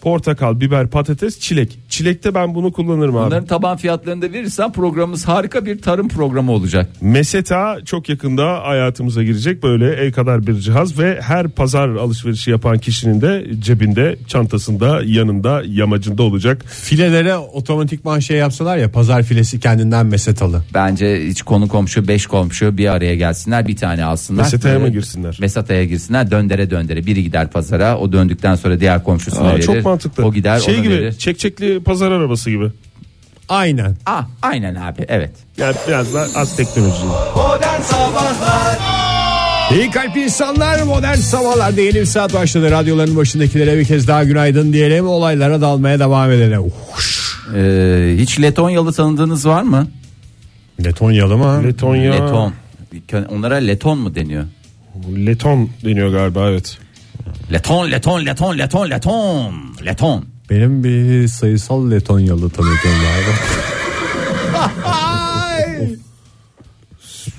S5: Portakal, biber, patates, çilek. Çilekte ben bunu kullanırım abi.
S4: Bunların taban fiyatlarını da verirsen programımız harika bir tarım programı olacak.
S5: Meseta çok yakında hayatımıza girecek böyle el kadar bir cihaz ve her pazar alışverişi yapan kişinin de cebinde, çantasında, yanında, yamacında olacak.
S3: Filelere otomatikman şey yapsalar ya pazar filesi kendinden mesetalı.
S4: Bence hiç konu komşu, beş komşu bir araya gelsinler, bir tane alsınlar.
S5: Mesataya mı
S4: Ee,
S5: girsinler?
S4: Mesataya girsinler, döndere döndere. Biri gider pazara, o döndükten sonra diğer komşusuna
S5: Aa,
S4: verir.
S5: çok mantıklı.
S4: O gider,
S5: şey
S4: ona
S5: gibi,
S4: verir.
S5: çekçekli pazar arabası gibi.
S3: Aynen.
S4: Ah, aynen abi, evet.
S5: Yani biraz daha az teknoloji.
S2: Modern Sabahlar
S3: İyi kalp insanlar modern sabahlarda yeni bir saat başladı. Radyoların başındakilere bir kez daha günaydın diyelim. Olaylara dalmaya devam edelim. Uh,
S4: Ee, hiç Letonyalı tanıdığınız var mı?
S3: Letonyalı mı?
S5: Letonya.
S4: Leton. Onlara Leton mu deniyor?
S5: Leton deniyor galiba evet.
S4: Leton, Leton, Leton, Leton, Leton. Leton.
S3: Benim bir sayısal Letonyalı tanıdığım vardı.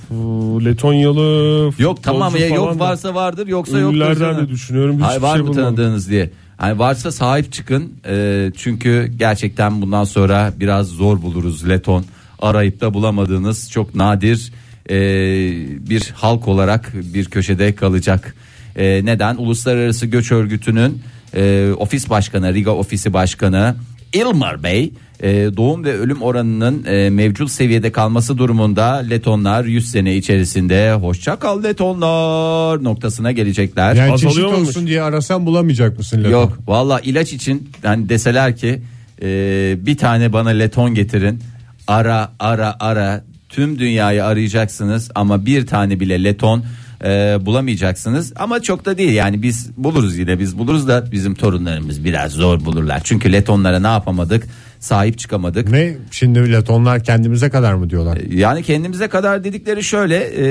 S5: Bu Letonyalı
S4: Yok tamam
S5: futbolcu
S4: ya yok
S5: falan da
S4: varsa vardır yoksa yoktur.
S5: Ünlülerden
S4: canım.
S5: de düşünüyorum. Hiçbir
S4: Hayır, var
S5: şey
S4: mı
S5: bulamadım.
S4: tanıdığınız diye. Hani varsa sahip çıkın. Ee, çünkü gerçekten bundan sonra biraz zor buluruz Leton. Arayıp da bulamadığınız çok nadir ee, bir halk olarak bir köşede kalacak. Ee, neden? Uluslararası Göç Örgütü'nün ee, ofis başkanı, Riga ofisi başkanı Ilmar Bey ee, doğum ve ölüm oranının ee, mevcut seviyede kalması durumunda Letonlar 100 sene içerisinde hoşça kal Letonlar noktasına gelecekler.
S3: Yani
S5: Azalıyor
S3: çeşit
S5: muymuş?
S3: olsun diye arasan bulamayacak mısın Leton?
S4: Yok valla ilaç için hani deseler ki e, bir tane bana leton getirin ara ara ara tüm dünyayı arayacaksınız ama bir tane bile leton e, bulamayacaksınız ama çok da değil yani biz buluruz yine biz buluruz da bizim torunlarımız biraz zor bulurlar çünkü letonlara ne yapamadık sahip çıkamadık.
S3: Ne şimdi Letonlar kendimize kadar mı diyorlar?
S4: Yani kendimize kadar dedikleri şöyle e,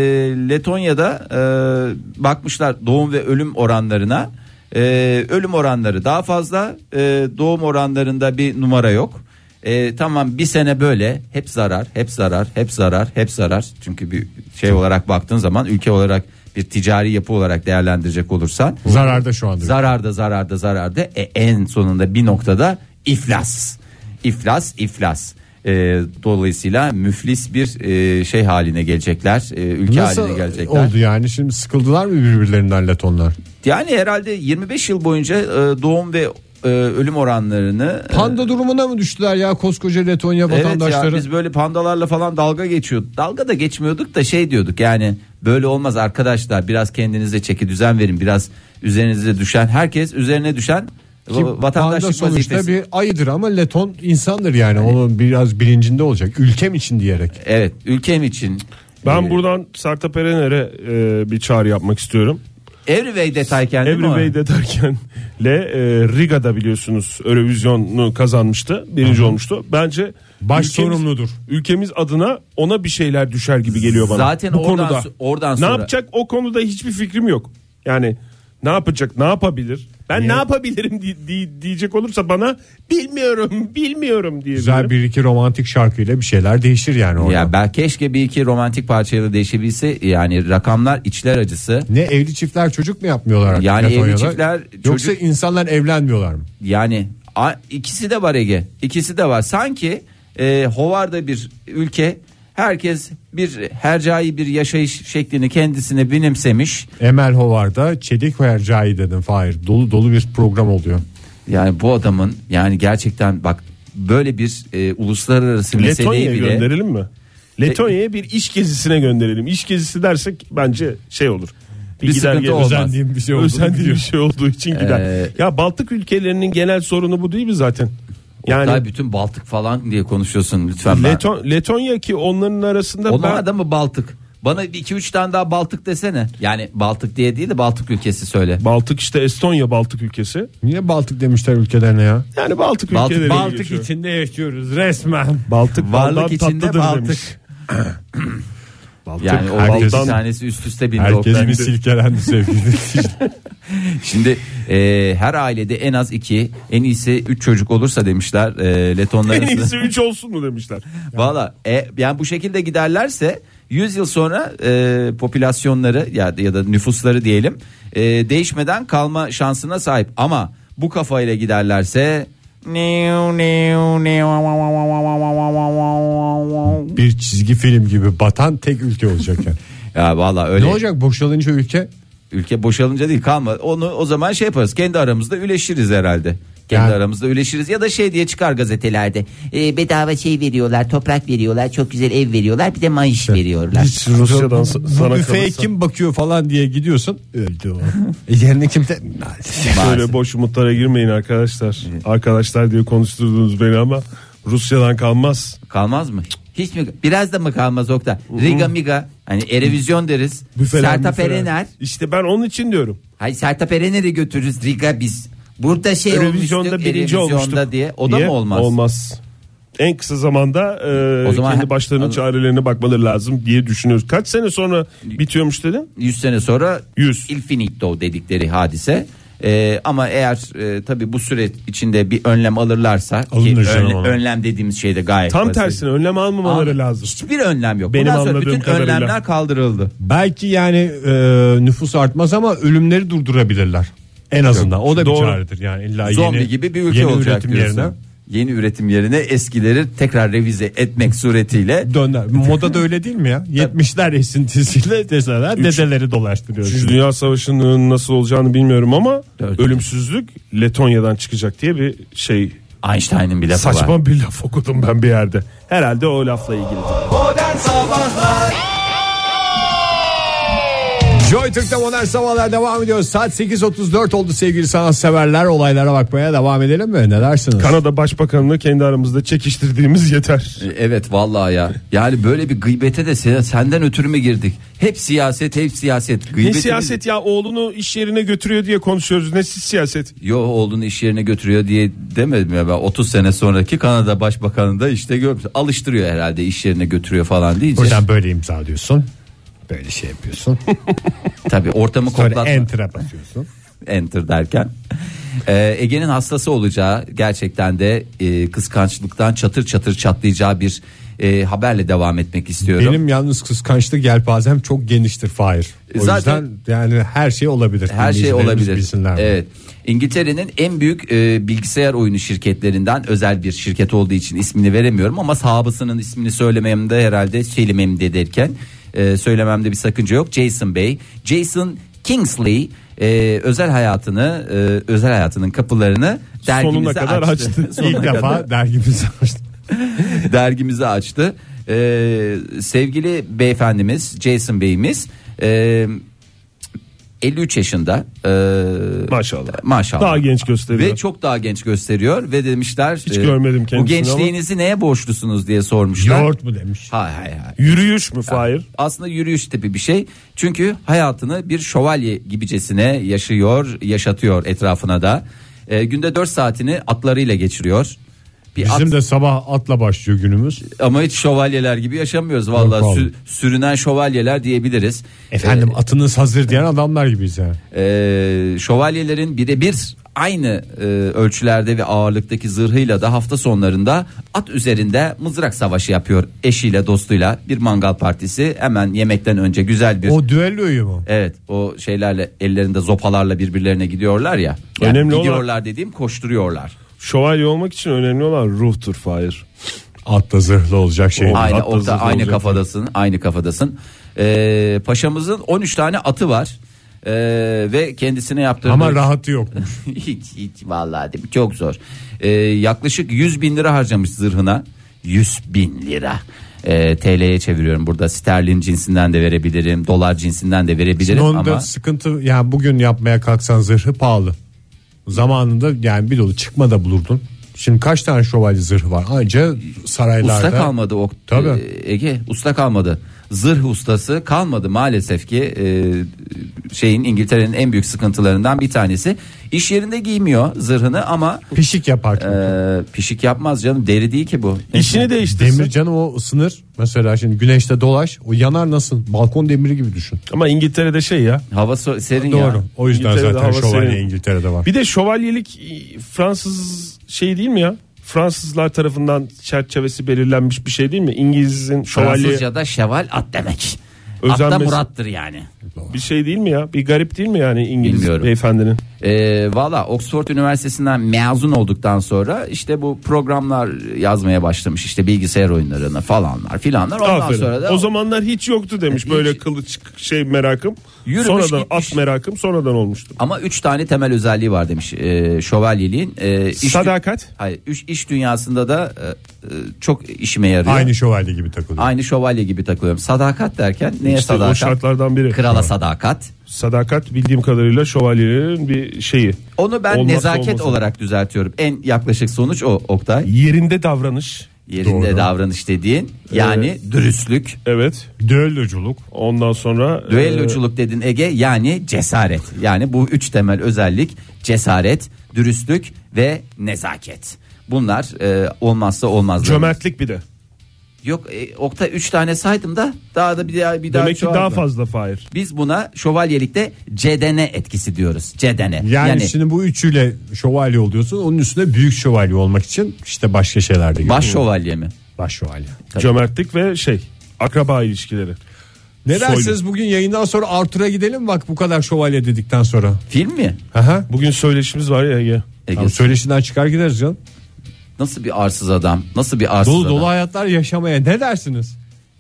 S4: Letonya'da e, bakmışlar doğum ve ölüm oranlarına E, ölüm oranları daha fazla e, doğum oranlarında bir numara yok. E, tamam bir sene böyle hep zarar hep zarar hep zarar hep zarar çünkü bir şey olarak baktığın zaman ülke olarak bir ticari yapı olarak değerlendirecek olursan
S3: Zararda şu anda.
S4: zararda zararda zararda e, en sonunda bir noktada iflas iflas iflas E, dolayısıyla müflis bir e, şey haline gelecekler e, ülke
S3: Nasıl
S4: haline gelecekler
S3: oldu yani şimdi sıkıldılar mı birbirlerinden Letonlar?
S4: yani herhalde 25 yıl boyunca e, doğum ve e, ölüm oranlarını e,
S3: Panda durumuna mı düştüler ya koskoca Letonya
S4: Evet ya
S3: vatandaşları?
S4: biz böyle pandalarla falan dalga geçiyorduk. Dalga da geçmiyorduk da şey diyorduk yani böyle olmaz arkadaşlar biraz kendinize çeki düzen verin biraz üzerinize düşen herkes üzerine düşen
S3: Ki
S4: va-
S3: panda
S4: vatandaşlık
S3: sonuçta
S4: vazifesi. Hani-
S3: bir ayıdır ama Leton insandır yani onun biraz bilincinde olacak ülkem için diyerek.
S4: Evet ülkem için.
S5: Ben
S4: Ee,
S5: buradan Sertab Erener'e e, bir çağrı yapmak istiyorum.
S4: Everyway detayken değil mi
S5: Every
S4: o?
S5: Way de derken le e, Riga'da biliyorsunuz Eurovision'u kazanmıştı. Birinci olmuştu. Bence
S3: Baş sorumludur.
S5: Ülkemiz adına ona bir şeyler düşer gibi geliyor bana.
S4: Zaten
S5: bu
S4: oradan
S5: konuda.
S4: so- oradan
S5: ne
S4: sonra-
S5: yapacak o konuda hiçbir fikrim yok. Yani Ne yapacak? Ne yapabilir? Ben ne yapabilirim di- di- diyecek olursa bana bilmiyorum, bilmiyorum diye.
S3: Güzel bir iki romantik şarkıyla bir şeyler değişir yani orada.
S4: Ya ben keşke bir iki romantik parçaya da değişebilse yani rakamlar içler acısı.
S3: Ne evli çiftler çocuk mu yapmıyorlar artık
S4: Yani evli
S3: Letonya'da?
S4: çiftler
S3: Yoksa
S4: çocuk-
S3: insanlar evlenmiyorlar mı?
S4: Yani a- ikisi de var Ege. İkisi de var. Sanki e, hovarda bir ülke herkes bir hercai bir yaşayış şeklini kendisine benimsemiş.
S3: Emel Hovar'da Çelik Hercai dedim Fahir. Dolu dolu bir program oluyor.
S4: Yani bu adamın yani gerçekten bak böyle bir e, uluslararası meseleyi
S5: Letonya'ya
S4: bile E,
S5: gönderelim mi? Letonya'ya bir iş gezisine gönderelim. İş gezisi dersek bence şey olur.
S4: Bir sıkıntı olmaz.
S3: Özendiğim bir şey olduğunu
S5: Özendiğim bir
S3: biliyorum.
S5: şey olduğu için gider.
S4: Ee,
S5: Ya Baltık ülkelerinin genel sorunu bu değil mi zaten? Yani
S4: Oktay, bütün Baltık falan diye konuşuyorsun lütfen. ben-
S5: Leton, Letonya ki onların arasında
S4: Onun
S5: ben,
S4: adamı Baltık. Bana 2-3 tane daha Baltık desene. Yani Baltık diye değil de Baltık ülkesi söyle.
S5: Baltık işte Estonya Baltık ülkesi.
S3: Niye Baltık demişler ülkelerine ya?
S5: Yani Baltık,
S4: Baltık-
S5: ülkeleri
S4: Baltık
S5: geçiyor.
S3: içinde yaşıyoruz resmen.
S5: Baltık
S4: Varlık
S5: baldan
S4: içinde
S5: tatlıdır
S4: Baltık.
S5: demiş.
S3: Baltık
S4: Yani o
S3: herkes,
S4: Baltık tanesi üst üste bindi.
S3: herkes
S4: Oktay.
S3: bir silkelendi sevgili.
S4: Şimdi e, her ailede en az 2 en iyisi 3 çocuk olursa demişler e, Letonlar
S5: En
S4: arasında.
S5: iyisi 3 olsun mu demişler.
S4: Valla e, yani bu şekilde giderlerse 100 yıl sonra e, popülasyonları ya, ya da nüfusları diyelim e, değişmeden kalma şansına sahip. Ama bu kafayla giderlerse
S3: bir çizgi film gibi batan tek ülke olacak yani.
S4: ya valla
S3: ne
S4: öyle
S3: olacak boşalınca ülke?
S4: ülke boşalınca değil kalma onu o zaman şey yaparız kendi aramızda üleşiriz herhalde. Kendi
S3: Yani-
S4: aramızda üleşiriz ya da şey diye çıkar gazetelerde.
S6: E, bedava şey veriyorlar, toprak veriyorlar, çok güzel ev veriyorlar, bir de maaş veriyorlar.
S3: Hiç Rusya'dan
S5: sa- sana
S3: büfeye
S5: kalırsa.
S3: kim bakıyor falan diye gidiyorsun. Öldü o. E, Yerine kimse... Maalesef.
S5: Böyle boş umutlara girmeyin arkadaşlar. Arkadaşlar diye konuşturdunuz beni ama Rusya'dan kalmaz.
S4: Kalmaz mı? Hiç mi? Biraz da mı kalmaz Oktay? Riga miga. Hani Erevizyon deriz.
S3: Büfeler,
S4: Sertap
S3: büfeler.
S4: Erener.
S5: İşte ben onun için diyorum.
S4: Hayır Sertap Erener'i götürürüz Riga biz. Burada şey
S5: Eurovision'da
S4: olmuştuk,
S5: birinci
S4: Erevizyon'da
S5: olmuştuk.
S4: diye. O da
S5: Niye?
S4: mı olmaz?
S5: Olmaz. En kısa zamanda e,
S4: O zaman
S5: kendi
S4: he-
S5: başlarının
S4: Anladım.
S5: çarelerine bakmaları lazım diye düşünüyoruz. Kaç sene sonra bitiyormuş dedin?
S4: 100 sene sonra
S5: Yüz.
S4: Infinito dedikleri hadise. Ee, ama eğer e, tabi bu süre içinde bir önlem alırlarsa ki
S3: Alınır canım
S4: önle-
S3: ona.
S4: önlem dediğimiz şeyde gayet
S5: Tam
S4: basit.
S5: tersine önlem almamaları
S4: Abi,
S5: lazım.
S4: Hiçbir önlem yok.
S5: Benim
S4: Bundan sonra
S5: anladığım
S4: bütün
S5: kadarıyla.
S4: önlemler kaldırıldı.
S3: Belki yani e, nüfus artmaz ama ölümleri durdurabilirler. En azından o da bir
S5: Doğru.
S3: çaredir yani illa
S4: Zombi
S3: yeni,
S4: gibi bir ülke
S3: yeni
S4: olacak
S3: üretim
S4: diyorsun.
S3: yerine
S4: Yeni üretim yerine eskileri tekrar revize etmek suretiyle
S3: döner. Moda da öyle değil mi ya? 70'ler esintisiyle deseler dedeleri dolaştırıyor.
S5: Üçüncü Dünya Savaşı'nın nasıl olacağını bilmiyorum ama
S4: Evet.
S5: ölümsüzlük Letonya'dan çıkacak diye bir şey
S4: Einstein'ın bir lafı var.
S5: saçma bir laf okudum ben bir yerde. Herhalde o lafla ilgili.
S2: Modern Sabahlar
S3: Joy Türk'te modern sabahlar devam ediyor. Saat 8.34 oldu sevgili sanatseverler. Olaylara bakmaya devam edelim mi? Ne dersiniz?
S5: Kanada Başbakanını kendi aramızda çekiştirdiğimiz yeter.
S4: Evet vallahi ya. Yani böyle bir gıybete de se- senden ötürü mü girdik? Hep siyaset, hep siyaset.
S5: Ne
S4: Gıybetimiz-
S5: siyaset ya oğlunu iş yerine götürüyor diye konuşuyoruz. Ne siz siyaset?
S4: Yo oğlunu iş yerine götürüyor diye demedim ya ben 30 sene sonraki Kanada Başbakanı da işte görmüş. Alıştırıyor herhalde iş yerine götürüyor falan diyeceğiz.
S3: Buradan böyle imza diyorsun. Böyle şey yapıyorsun.
S4: Tabii ortamı
S3: Sonra
S4: koklatma.
S3: enter'a basıyorsun.
S4: enter derken. Ee, Ege'nin hastası olacağı gerçekten de e, kıskançlıktan çatır çatır çatlayacağı bir e, haberle devam etmek istiyorum.
S3: Benim yalnız kıskançlık yelpazem çok geniştir Fahir. O
S4: Zaten-
S3: yüzden yani her şey olabilir.
S4: Her şey
S3: Dinleyicilerimiz
S4: olabilir.
S3: Bilsinler.
S4: Evet. İngiltere'nin en büyük e, bilgisayar oyunu şirketlerinden özel bir şirket olduğu için ismini veremiyorum ama sahabısının ismini söylememde herhalde söylememde derken e, söylememde bir sakınca yok. Jason Bey, Jason Kingsley e, özel hayatını e, özel hayatının kapılarını dergimize
S5: Sonuna kadar açtı.
S4: Sonuna
S3: İlk
S4: kadar
S3: defa dergimizi açtı.
S4: dergimizi açtı. Ee, sevgili beyefendimiz Jason Bey'imiz e, 53 yaşında. Ee,
S5: Maşallah.
S4: Maşallah.
S5: Daha genç gösteriyor.
S4: Ve çok daha genç gösteriyor ve demişler ee,
S5: Hiç görmedim
S4: Bu
S5: kendisini
S4: gençliğinizi neye borçlusunuz diye sormuşlar.
S3: Yoğurt mu demiş.
S4: Hay hay hay.
S5: Yürüyüş mü Fahir?
S4: Aslında yürüyüş tipi bir şey. Çünkü hayatını bir şövalye gibicesine yaşıyor, yaşatıyor etrafına da. Ee, günde 4 saatini atlarıyla geçiriyor. Bir
S3: Bizim
S4: at-
S3: de sabah atla başlıyor günümüz.
S4: ama hiç şövalyeler gibi yaşamıyoruz vallahi
S3: Yok,
S4: Sü-
S3: vallahi.
S4: sürünen şövalyeler diyebiliriz.
S3: Efendim atınız hazır diyen adamlar gibiyiz yani.
S4: Ee, şövalyelerin birebir aynı e, ölçülerde ve ağırlıktaki zırhıyla da hafta sonlarında at üzerinde mızrak savaşı yapıyor eşiyle dostuyla bir mangal partisi hemen yemekten önce güzel bir
S3: O düelloyu mu?
S4: Evet o şeylerle ellerinde zopalarla birbirlerine gidiyorlar ya. Yani
S5: Önemli olan-
S4: gidiyorlar dediğim koşturuyorlar.
S5: Şövalye olmak için önemli olan ruhtur Fahir.
S3: Atla zırhlı olacak şey.
S5: O-
S4: aynı
S5: atla
S4: okta
S5: zıpla
S4: aynı
S5: olacak.
S4: kafadasın, aynı kafadasın. Ee, paşamızın 13 tane atı var. Ee, ve kendisine yaptırdığı
S3: Ama rahatı yokmuş.
S4: hiç hiç vallahi değil mi? çok zor. Ee, yaklaşık 100 bin lira harcamış zırhına. 100 bin lira. Ee, TL'ye çeviriyorum burada sterlin cinsinden de verebilirim dolar cinsinden de verebilirim
S3: Onda
S4: ama
S3: sıkıntı yani bugün yapmaya kalksan zırhı pahalı. Zamanında yani bir dolu çıkma da bulurdun. Şimdi kaç tane şövalye zırhı var? Anca saraylarda.
S4: usta kalmadı o
S3: Tabii.
S4: e, Ege usta kalmadı zırh ustası kalmadı maalesef ki e, şeyin İngiltere'nin en büyük sıkıntılarından bir tanesi iş yerinde giymiyor zırhını ama
S3: Pişik yapar.
S4: e, pişik yapmaz canım deri değil ki bu
S5: İşini değiştirsin.
S3: Demir canım o ısınır. Mesela şimdi güneşte dolaş. O yanar nasıl? Balkon demiri gibi düşün.
S5: Ama İngiltere'de şey ya.
S4: hava so- serin ya
S3: Doğru. O yüzden
S5: İngiltere'de
S3: zaten
S5: hava
S3: şövalye
S5: serin.
S3: İngiltere'de var.
S5: Bir de şövalyelik e, Fransız şey değil mi ya? Fransızlar tarafından çerçevesi belirlenmiş bir şey değil mi? İngiliz'in şövalye
S4: Fransızca'da şeval at demek. At da
S5: Özenmesi-
S4: murattır yani.
S5: bir şey değil mi ya? Bir garip değil mi yani İngiliz
S4: Bilmiyorum.
S5: beyefendinin?
S4: Ee, Valla Oxford Üniversitesi'nden mezun olduktan sonra işte bu programlar yazmaya başlamış. İşte bilgisayar oyunlarını falanlar filanlar. Ondan
S5: Aferin.
S4: sonra da
S5: o zamanlar hiç yoktu demiş
S4: Hiç.
S5: böyle kılıç şey merakım.
S4: Yürümüş
S5: sonradan
S4: gitmiş.
S5: at merakım sonradan olmuştu.
S4: ama üç tane temel özelliği var demiş e, şövalyeliğin. E, iş,
S5: Sadakat.
S4: Hayır, üç, iş dünyasında da e, e, çok işime yarıyor.
S3: Aynı şövalye gibi takılıyor.
S4: Aynı şövalye gibi takılıyorum. Sadakat derken neye
S5: İşte o
S4: sadakat?
S5: şartlardan biri.
S4: Krala sadakat.
S5: Sadakat bildiğim kadarıyla şövalyelerin bir şeyi.
S4: Onu ben
S5: Olmazsa
S4: nezaket
S5: olmazı.
S4: olarak düzeltiyorum. En yaklaşık sonuç o Oktay.
S5: Yerinde davranış.
S4: yerinde
S3: Doğru.
S4: davranış dediğin yani dürüstlük.
S5: Evet.
S3: Düelloculuk.
S5: Ondan sonra e,
S4: Düelloculuk dedin Ege yani cesaret. Yani bu üç temel özellik cesaret, dürüstlük ve nezaket. Bunlar e, olmazsa
S5: e,
S4: olmazlar.
S5: cömertlik bir de.
S4: Yok e, Oktay 3 tane saydım da daha da bir daha bir daha
S5: Demek ki
S4: çoğaldı.
S5: daha fazla Fahir.
S4: Biz buna şövalyelikte cedene etkisi diyoruz. Cedene.
S3: Yani, şimdi bu üçüyle şövalye oluyorsun. Onun üstüne büyük şövalye olmak için işte başka şeyler de geliyor.
S4: baş şövalye mi?
S3: Baş şövalye.
S4: Tabii.
S5: Cömertlik ve şey akraba ilişkileri.
S3: Ne
S5: Soylu.
S3: dersiniz bugün yayından sonra Arthur'a gidelim bak bu kadar şövalye dedikten sonra.
S4: Film mi?
S3: Aha.
S5: Bugün söyleşimiz var ya Ege.
S4: Ege,
S3: Tamam, söyleşinden çıkar gideriz canım.
S4: nasıl bir arsız adam? Nasıl bir arsız
S3: Dolu
S4: adam?
S3: dolu hayatlar yaşamaya ne dersiniz?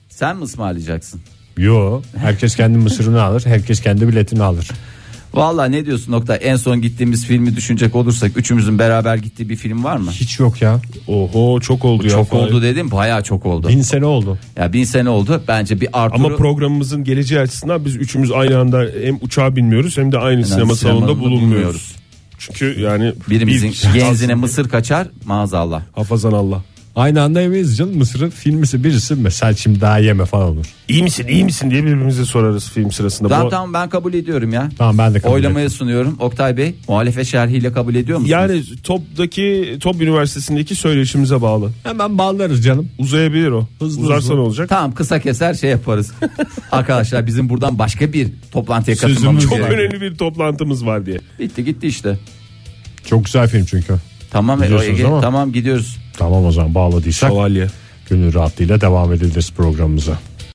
S4: Sen mi ısmarlayacaksın?
S3: Yo herkes kendi mısırını alır herkes kendi biletini alır.
S4: Valla ne diyorsun nokta en son gittiğimiz filmi düşünecek olursak üçümüzün beraber gittiği bir film var mı?
S3: Hiç yok ya.
S5: Oho çok oldu ya.
S4: çok
S5: Fahir.
S4: oldu dedim bayağı çok oldu.
S3: Bin sene oldu.
S4: Ya bin sene oldu bence bir Arthur'u
S5: Ama programımızın geleceği açısından biz üçümüz aynı anda hem uçağa binmiyoruz hem de aynı sinema salonunda
S4: sinemada
S5: bulunmuyoruz.
S4: bulunmuyoruz.
S5: Çünkü yani
S4: birimizin
S5: bir-
S4: genzine mısır kaçar maazallah.
S5: Hafazan Allah.
S3: Aynı anda yemeyiz canım mısırı filmisi birisi mesela şimdi daha yeme falan olur.
S5: İyi misin iyi misin diye birbirimize sorarız film sırasında.
S4: Tamam
S5: Bu-
S4: tamam ben kabul ediyorum ya.
S3: Tamam, ben de kabul
S4: Oylamaya sunuyorum. Oktay Bey muhalefet şerhiyle kabul ediyor musunuz?
S5: Yani Top'daki Top Üniversitesi'ndeki söyleşimize bağlı.
S3: Hemen bağlarız canım.
S5: Uzayabilir o.
S3: Hızlı
S5: Uzarsa
S3: hızlı.
S5: ne olacak?
S4: Tamam kısa keser şey yaparız. Arkadaşlar bizim buradan başka bir toplantıya
S3: Sözümüz
S4: katılmamız
S3: yok.
S5: Çok
S3: Yani.
S4: gerekiyor.
S5: önemli bir toplantımız var diye.
S4: Bitti gitti işte.
S3: Çok güzel film çünkü.
S4: Tamam Ege,
S3: Biliyorsunuz ama-
S4: tamam gidiyoruz.
S3: Tamam o zaman bağladıysak
S5: Şövalye.
S3: gönül rahatlığıyla devam ediliriz programımıza.